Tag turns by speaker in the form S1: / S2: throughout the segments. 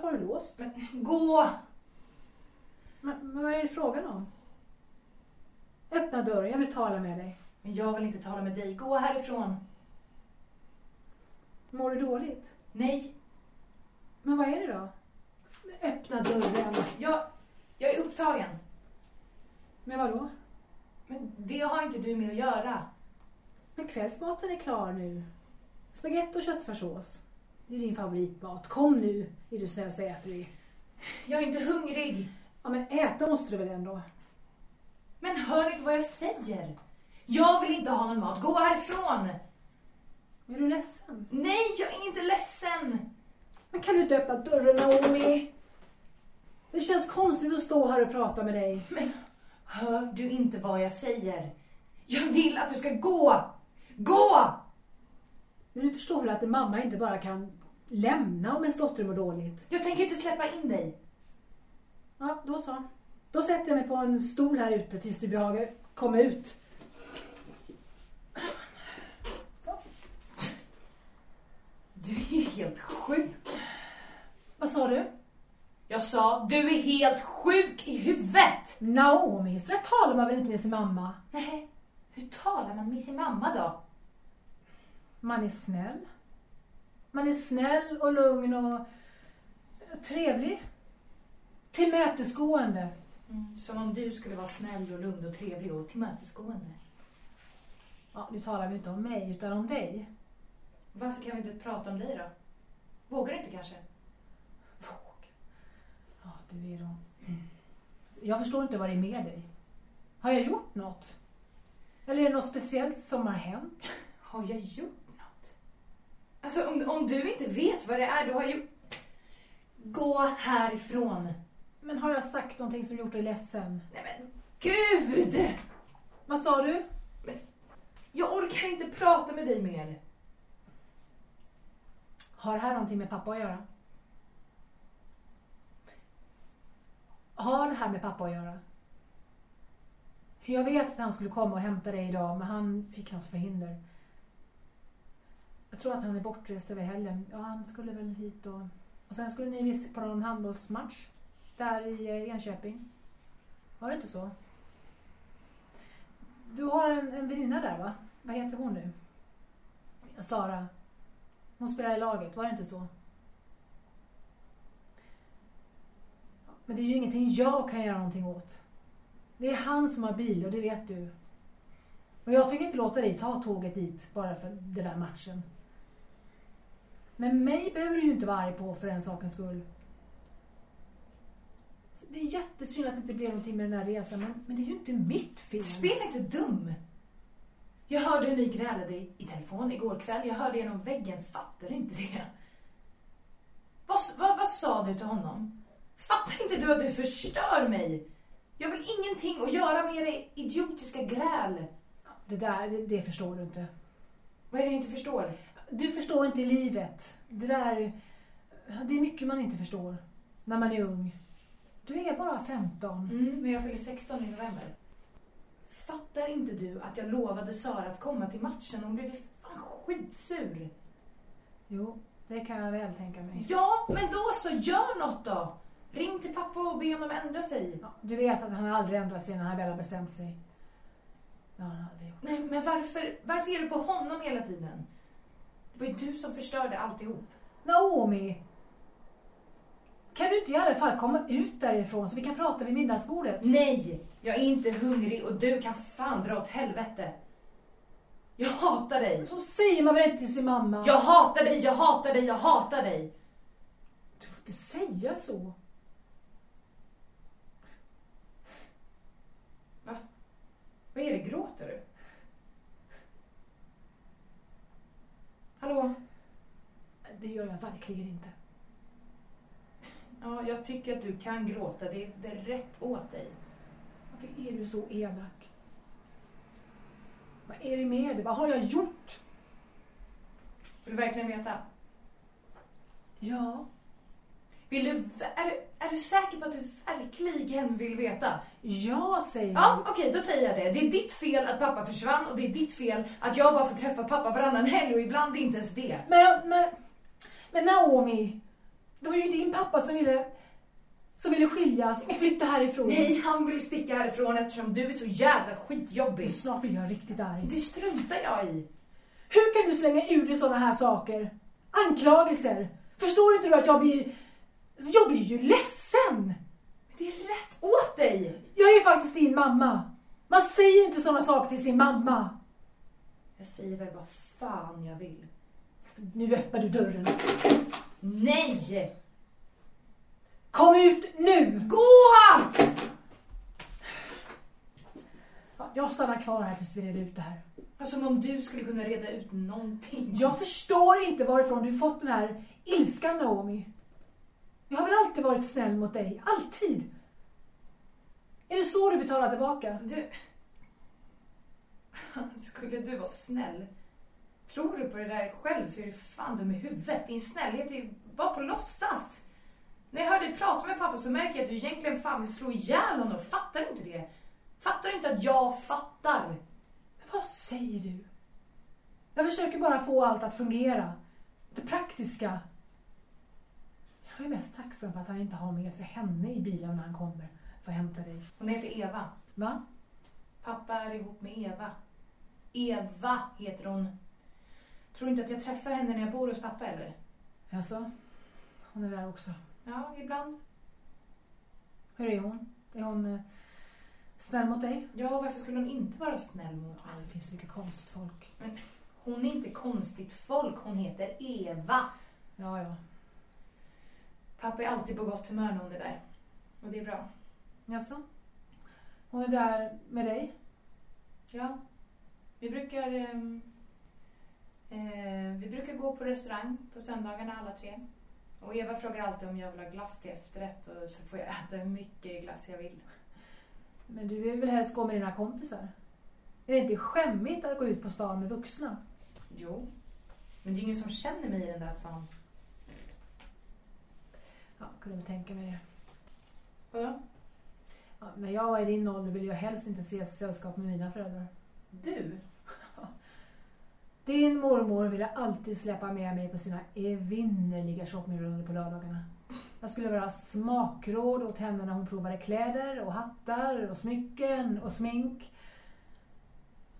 S1: posten.
S2: Gå!
S1: Men, men vad är det frågan om? Öppna dörren, jag vill tala med dig.
S2: Men jag vill inte tala med dig. Gå härifrån.
S1: Mår du dåligt?
S2: Nej,
S1: Men vad är det då? Öppna dörren.
S2: jag, jag är upptagen.
S1: Men vadå?
S2: Men det har inte du med att göra.
S1: Men kvällsmaten är klar nu. Spagetti och köttfärssås. Det är din favoritmat. Kom nu, är du snäll så äter vi.
S2: Jag är inte hungrig.
S1: Ja men äta måste du väl ändå?
S2: Men hör ni inte vad jag säger? Jag vill inte ha någon mat. Gå härifrån!
S1: Är du ledsen?
S2: Nej, jag är inte ledsen!
S1: Men kan du inte öppna dörren Naomi? Det känns konstigt att stå här och prata med dig.
S2: Men hör du inte vad jag säger? Jag vill att du ska gå! Gå!
S1: Men du förstår väl att en mamma inte bara kan lämna om ens dotter mår dåligt?
S2: Jag tänker inte släppa in dig.
S1: Ja, då så. Då sätter jag mig på en stol här ute tills du behagar komma ut.
S2: Du är helt sjuk.
S1: Vad sa du?
S2: Jag sa, du är helt sjuk i huvudet!
S1: Naomi, så där talar man väl inte med sin mamma?
S2: Nej, hur talar man med sin mamma då?
S1: Man är snäll. Man är snäll och lugn och trevlig. Tillmötesgående.
S2: Som om du skulle vara snäll och lugn och trevlig och tillmötesgående.
S1: Ja, nu talar vi inte om mig utan om dig.
S2: Varför kan vi inte prata om dig då? Vågar du inte kanske?
S1: Våg. Ja, du är då... Mm. Jag förstår inte vad det är med dig. Har jag gjort något? Eller är det något speciellt som har hänt?
S2: Har jag gjort något? Alltså om, om du inte vet vad det är du har gjort... Gå härifrån!
S1: Men har jag sagt någonting som gjort dig ledsen?
S2: Nej men gud!
S1: Vad sa du?
S2: Jag orkar inte prata med dig mer.
S1: Har det här någonting med pappa att göra? Har det här med pappa att göra? Jag vet att han skulle komma och hämta dig idag, men han fick något förhinder. Jag tror att han är bortrest över helgen. Ja, han skulle väl hit och... Och sen skulle ni missa på någon handbollsmatch där i eh, Enköping. Var det inte så? Du har en, en väninna där, va? Vad heter hon nu? Sara. Hon spelar i laget, var det inte så? Men det är ju ingenting jag kan göra någonting åt. Det är han som har bil och det vet du. Och jag tänker inte låta dig ta tåget dit bara för den där matchen. Men mig behöver du ju inte vara arg på för den sakens skull. Så Det är jättesynd att det inte blev någonting med den här resan, men, men det är ju inte mitt fel.
S2: Spela inte dum! Jag hörde hur ni grälade i i telefon igår kväll. Jag hörde genom väggen. Fattar du inte det? Vad, s- vad, vad sa du till honom? Fattar inte du att du förstör mig? Jag vill ingenting att göra med era idiotiska gräl.
S1: Det där, det, det förstår du inte.
S2: Vad är det jag inte förstår?
S1: Du förstår inte livet. Det där... Det är mycket man inte förstår när man är ung. Du är bara 15.
S2: Mm, men jag fyller 16 i november. Fattar inte du att jag lovade Sara att komma till matchen? Hon blev ju fan skitsur.
S1: Jo, det kan jag väl tänka mig.
S2: Ja, men då så, gör något då! Ring till pappa och be honom ändra sig.
S1: Ja, Du vet att han aldrig ändrar sig när han väl har bestämt sig. Det har han aldrig gjort.
S2: Nej, men varför, varför är du på honom hela tiden? Det var ju du som förstörde alltihop.
S1: Naomi! Kan du inte i alla fall komma ut därifrån så vi kan prata vid middagsbordet?
S2: Nej, jag är inte hungrig och du kan fan dra åt helvete. Jag hatar dig.
S1: Så säger man väl inte till sin mamma?
S2: Jag hatar dig, jag hatar dig, jag hatar dig.
S1: Du får inte säga så.
S2: Vad är det, gråter du? Hallå?
S1: Det gör jag verkligen inte.
S2: Ja, jag tycker att du kan gråta. Det är, det är rätt åt dig.
S1: Varför är du så elak? Vad är det med dig? Vad har jag gjort?
S2: Vill du verkligen veta?
S1: Ja.
S2: Vill du, ver- är, du- är du säker på att du verkligen vill veta?
S1: Jag säger
S2: Ja, okej, då säger jag det. Det är ditt fel att pappa försvann och det är ditt fel att jag bara får träffa pappa varannan helg och ibland inte ens det.
S1: Men, men, men Naomi, Det var ju din pappa som ville, som ville skiljas och flytta härifrån.
S2: Nej, han vill sticka härifrån eftersom du är så jävla skitjobbig.
S1: Snart blir jag riktigt arg.
S2: Det struntar jag i.
S1: Hur kan du slänga ur dig sådana här saker? Anklagelser. Förstår inte du att jag blir... Jag blir ju ledsen!
S2: Det är rätt åt dig.
S1: Jag är faktiskt din mamma. Man säger inte sådana saker till sin mamma.
S2: Jag säger väl vad fan jag vill.
S1: Nu öppnar du dörren.
S2: Nej!
S1: Kom ut nu!
S2: Gå!
S1: Ja, Jag stannar kvar här tills vi reder ut det här.
S2: Ja, Alltså, Som om du skulle kunna reda ut någonting.
S1: Jag förstår inte varifrån du fått den här ilskan Naomi. Jag har väl alltid varit snäll mot dig. Alltid! Är det så du betalar tillbaka?
S2: Du... Skulle du vara snäll? Tror du på det där själv så är du fan dum i huvudet. Din snällhet är ju bara på låtsas. När jag hör dig prata med pappa så märker jag att du egentligen fan vill slå ihjäl honom. Fattar du inte det? Fattar du inte att jag fattar?
S1: Men vad säger du? Jag försöker bara få allt att fungera. Det praktiska. Jag är mest tacksam för att han inte har med sig henne i bilen när han kommer för att hämta dig.
S2: Hon heter Eva.
S1: Va?
S2: Pappa är ihop med Eva. Eva heter hon. Tror du inte att jag träffar henne när jag bor hos pappa eller?
S1: Alltså, hon är där också.
S2: Ja, ibland.
S1: Hur är hon? Är hon eh, snäll mot dig?
S2: Ja, varför skulle hon inte vara snäll mot mig?
S1: det finns mycket konstigt folk.
S2: Hon är inte konstigt folk, hon heter Eva.
S1: Ja, ja.
S2: Pappa är alltid på gott humör när hon är där. Och det är bra.
S1: Jaså? Hon är där med dig?
S2: Ja. Vi brukar... ehm, eh, vi brukar gå på restaurang på söndagarna alla tre. Och Eva frågar alltid om jag vill ha glass till efterrätt och så får jag äta hur mycket glass jag vill.
S1: Men du vill väl helst gå med dina kompisar? Är det inte skämmigt att gå ut på stan med vuxna?
S2: Jo. Men det är ingen som känner mig i den där stan.
S1: Ja, kunde väl tänka mig det.
S2: Vadå?
S1: Ja, när jag var i din ålder ville jag helst inte ses i sällskap med mina föräldrar.
S2: Du?
S1: Din mormor ville alltid släppa med mig på sina evinnerliga shoppingrunder på lördagarna. Jag skulle vara smakråd åt henne när hon provade kläder och hattar och smycken och smink.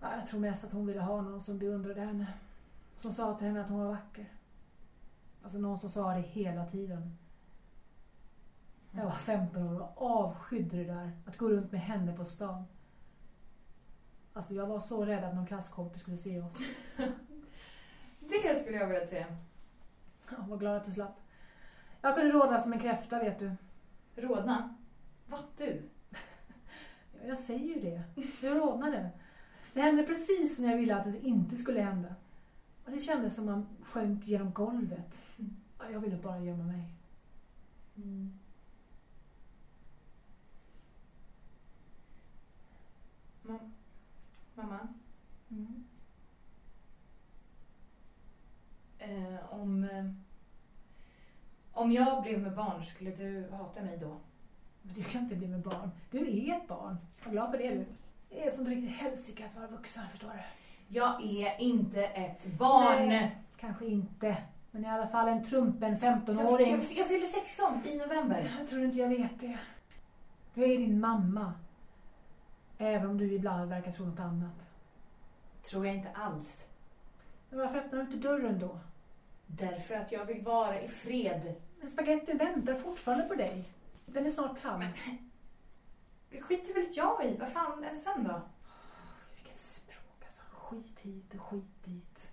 S1: Ja, jag tror mest att hon ville ha någon som beundrade henne. Som sa till henne att hon var vacker. Alltså någon som sa det hela tiden. När jag var 15 år och avskydde det där. Att gå runt med henne på stan. Alltså jag var så rädd att någon klasskompis skulle se oss.
S2: Det skulle jag vilja säga.
S1: Ja, var glad att du slapp. Jag kunde rodna som en kräfta, vet du.
S2: Rodna? Vad du?
S1: Ja, Jag säger ju det. Jag rodnade. Det hände precis när jag ville att det inte skulle hända. Och det kändes som man sjönk genom golvet. Ja, Jag ville bara gömma mig.
S2: Mm. Ma- mamma? Eh, om, eh, om jag blev med barn, skulle du hata mig då?
S1: Men du kan inte bli med barn. Du är ett barn. Var glad för det du. Det är sånt riktigt helsike att vara vuxen, förstår du.
S2: Jag är inte ett
S1: Nej, kanske inte. Men i alla fall en trumpen
S2: Jag,
S1: 15-åring.
S2: jag, jag fyller 16 i november.
S1: Jag tror inte jag vet det. Jag är din mamma. Även om du ibland verkar tro något annat.
S2: Tror jag inte alls.
S1: Men varför öppnar du inte dörren då?
S2: Därför att jag vill vara i fred.
S1: Men spagettin väntar fortfarande på dig. Den är snart kall. Men
S2: Det skiter väl jag i. Vad fan ens sen då?
S1: vilket språk alltså. Skit hit och skit dit.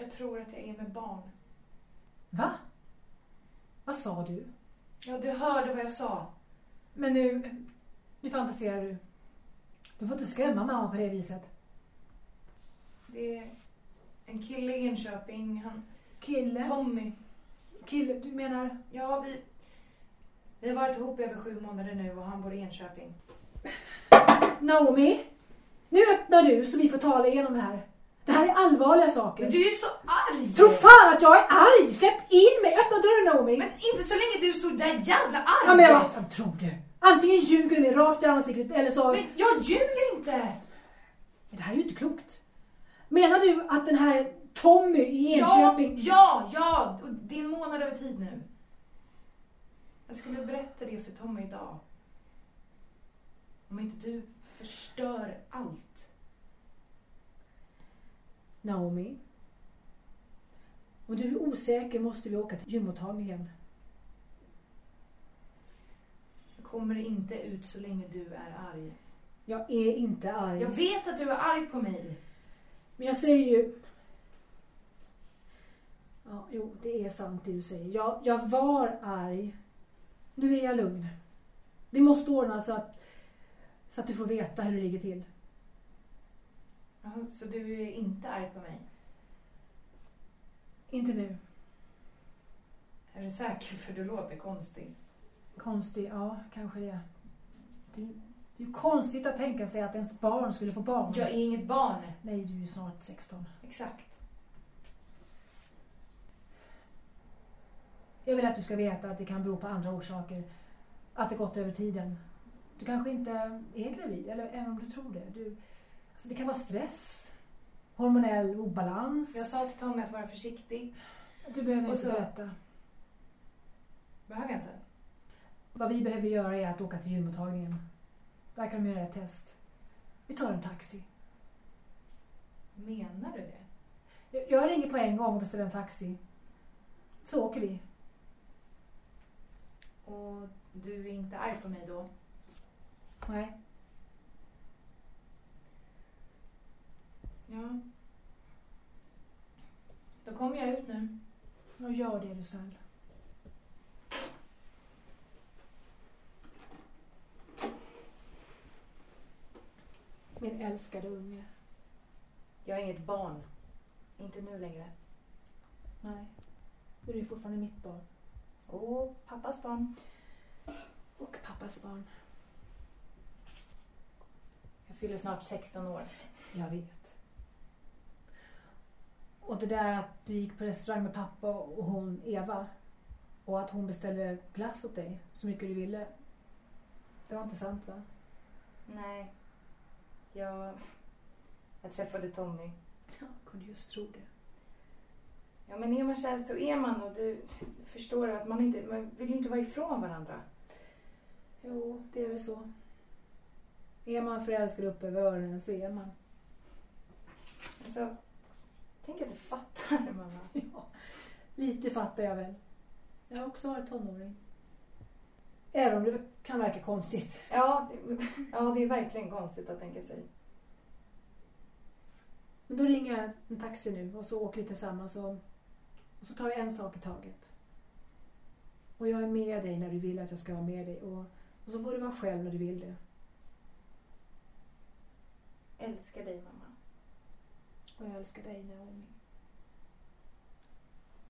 S2: Jag tror att jag är med barn.
S1: Va? Vad sa du?
S2: Ja, du hörde vad jag sa.
S1: Men nu... Nu fantiserar du. Du får inte skrämma mamma på det viset.
S2: Det är en kille i Enköping. Han,
S1: Kille?
S2: Tommy.
S1: Kille? Du menar...
S2: Ja, vi, vi har varit ihop i över sju månader nu och han bor i Enköping.
S1: Naomi? Nu öppnar du så vi får tala igenom det här. Det här är allvarliga saker.
S2: Men du är ju så arg!
S1: Tro fan att jag är arg! Släpp in mig! Öppna dörren Naomi!
S2: Men inte så länge du är så där jävla arg!
S1: ja, men vad fan tror du? Antingen ljuger du mig rakt i ansiktet eller så... Men,
S2: Men jag ljuger inte!
S1: det här är ju inte klokt. Menar du att den här Tommy i Enköping.
S2: Ja, ja, ja! Och Det är en månad över tid nu. Jag skulle berätta det för Tommy idag. Om inte du förstör allt.
S1: Naomi. Om du är osäker måste vi åka till gymmottagningen.
S2: Jag kommer inte ut så länge du är arg.
S1: Jag är inte arg.
S2: Jag vet att du är arg på mig.
S1: Men jag säger ju... Ja, jo, det är sant det du säger. Jag, jag var arg. Nu är jag lugn. Vi måste ordna så att, så att du får veta hur det ligger till.
S2: Jaha, Så du är inte arg på mig?
S1: Inte nu.
S2: Är du säker? För du låter konstig.
S1: Konstigt, ja, kanske det. Det, det är ju konstigt att tänka sig att ens barn skulle få barn.
S2: Jag är inget barn.
S1: Nej, du är ju snart 16.
S2: Exakt.
S1: Jag vill att du ska veta att det kan bero på andra orsaker. Att det gått över tiden. Du kanske inte är gravid, eller även om du tror det. Du, alltså det kan vara stress, hormonell obalans.
S2: Jag sa till Tommy att vara försiktig.
S1: Du behöver
S2: Och
S1: inte
S2: så-
S1: berätta.
S2: Behöver jag inte?
S1: Vad vi behöver göra är att åka till gymmottagningen. Där kan de göra ett test. Vi tar en taxi.
S2: Menar du det?
S1: Jag- Jag ringer på en gång och beställer en taxi. Så åker vi.
S2: Och du är inte arg på mig då?
S1: Nej.
S2: Ja. Då kommer jag ut nu.
S1: Och gör det är du snäll. Min älskade unge.
S2: Jag är inget barn. Inte nu längre.
S1: Nej, du är ju fortfarande mitt barn.
S2: Och pappas barn.
S1: Och pappas barn.
S2: Jag fyller snart 16 år.
S1: Jag vet. Och det där att du gick på restaurang med pappa och hon, Eva, och att hon beställde glass åt dig så mycket du ville. Det var inte sant va?
S2: Nej. Jag... Jag träffade Tommy.
S1: Jag kunde just tro det.
S2: Ja, men är man kär så är man och du, du förstår att man inte... Man vill ju inte vara ifrån varandra.
S1: Jo, det är väl så. Är man förälskad upp över öronen så är man.
S2: Alltså, tänk att du fattar, mamma.
S1: Ja, lite fattar jag väl. Jag har också varit tonåring. Även om det kan verka konstigt.
S2: Ja, det- ja, det är verkligen konstigt att tänka sig.
S1: Men då ringer jag en taxi nu och så åker vi tillsammans och, och så tar vi en sak i taget. Och jag är med dig när du vill att jag ska vara med dig och, och så får du vara själv när du vill det.
S2: Älskar dig, mamma.
S1: Och jag älskar dig Naomi.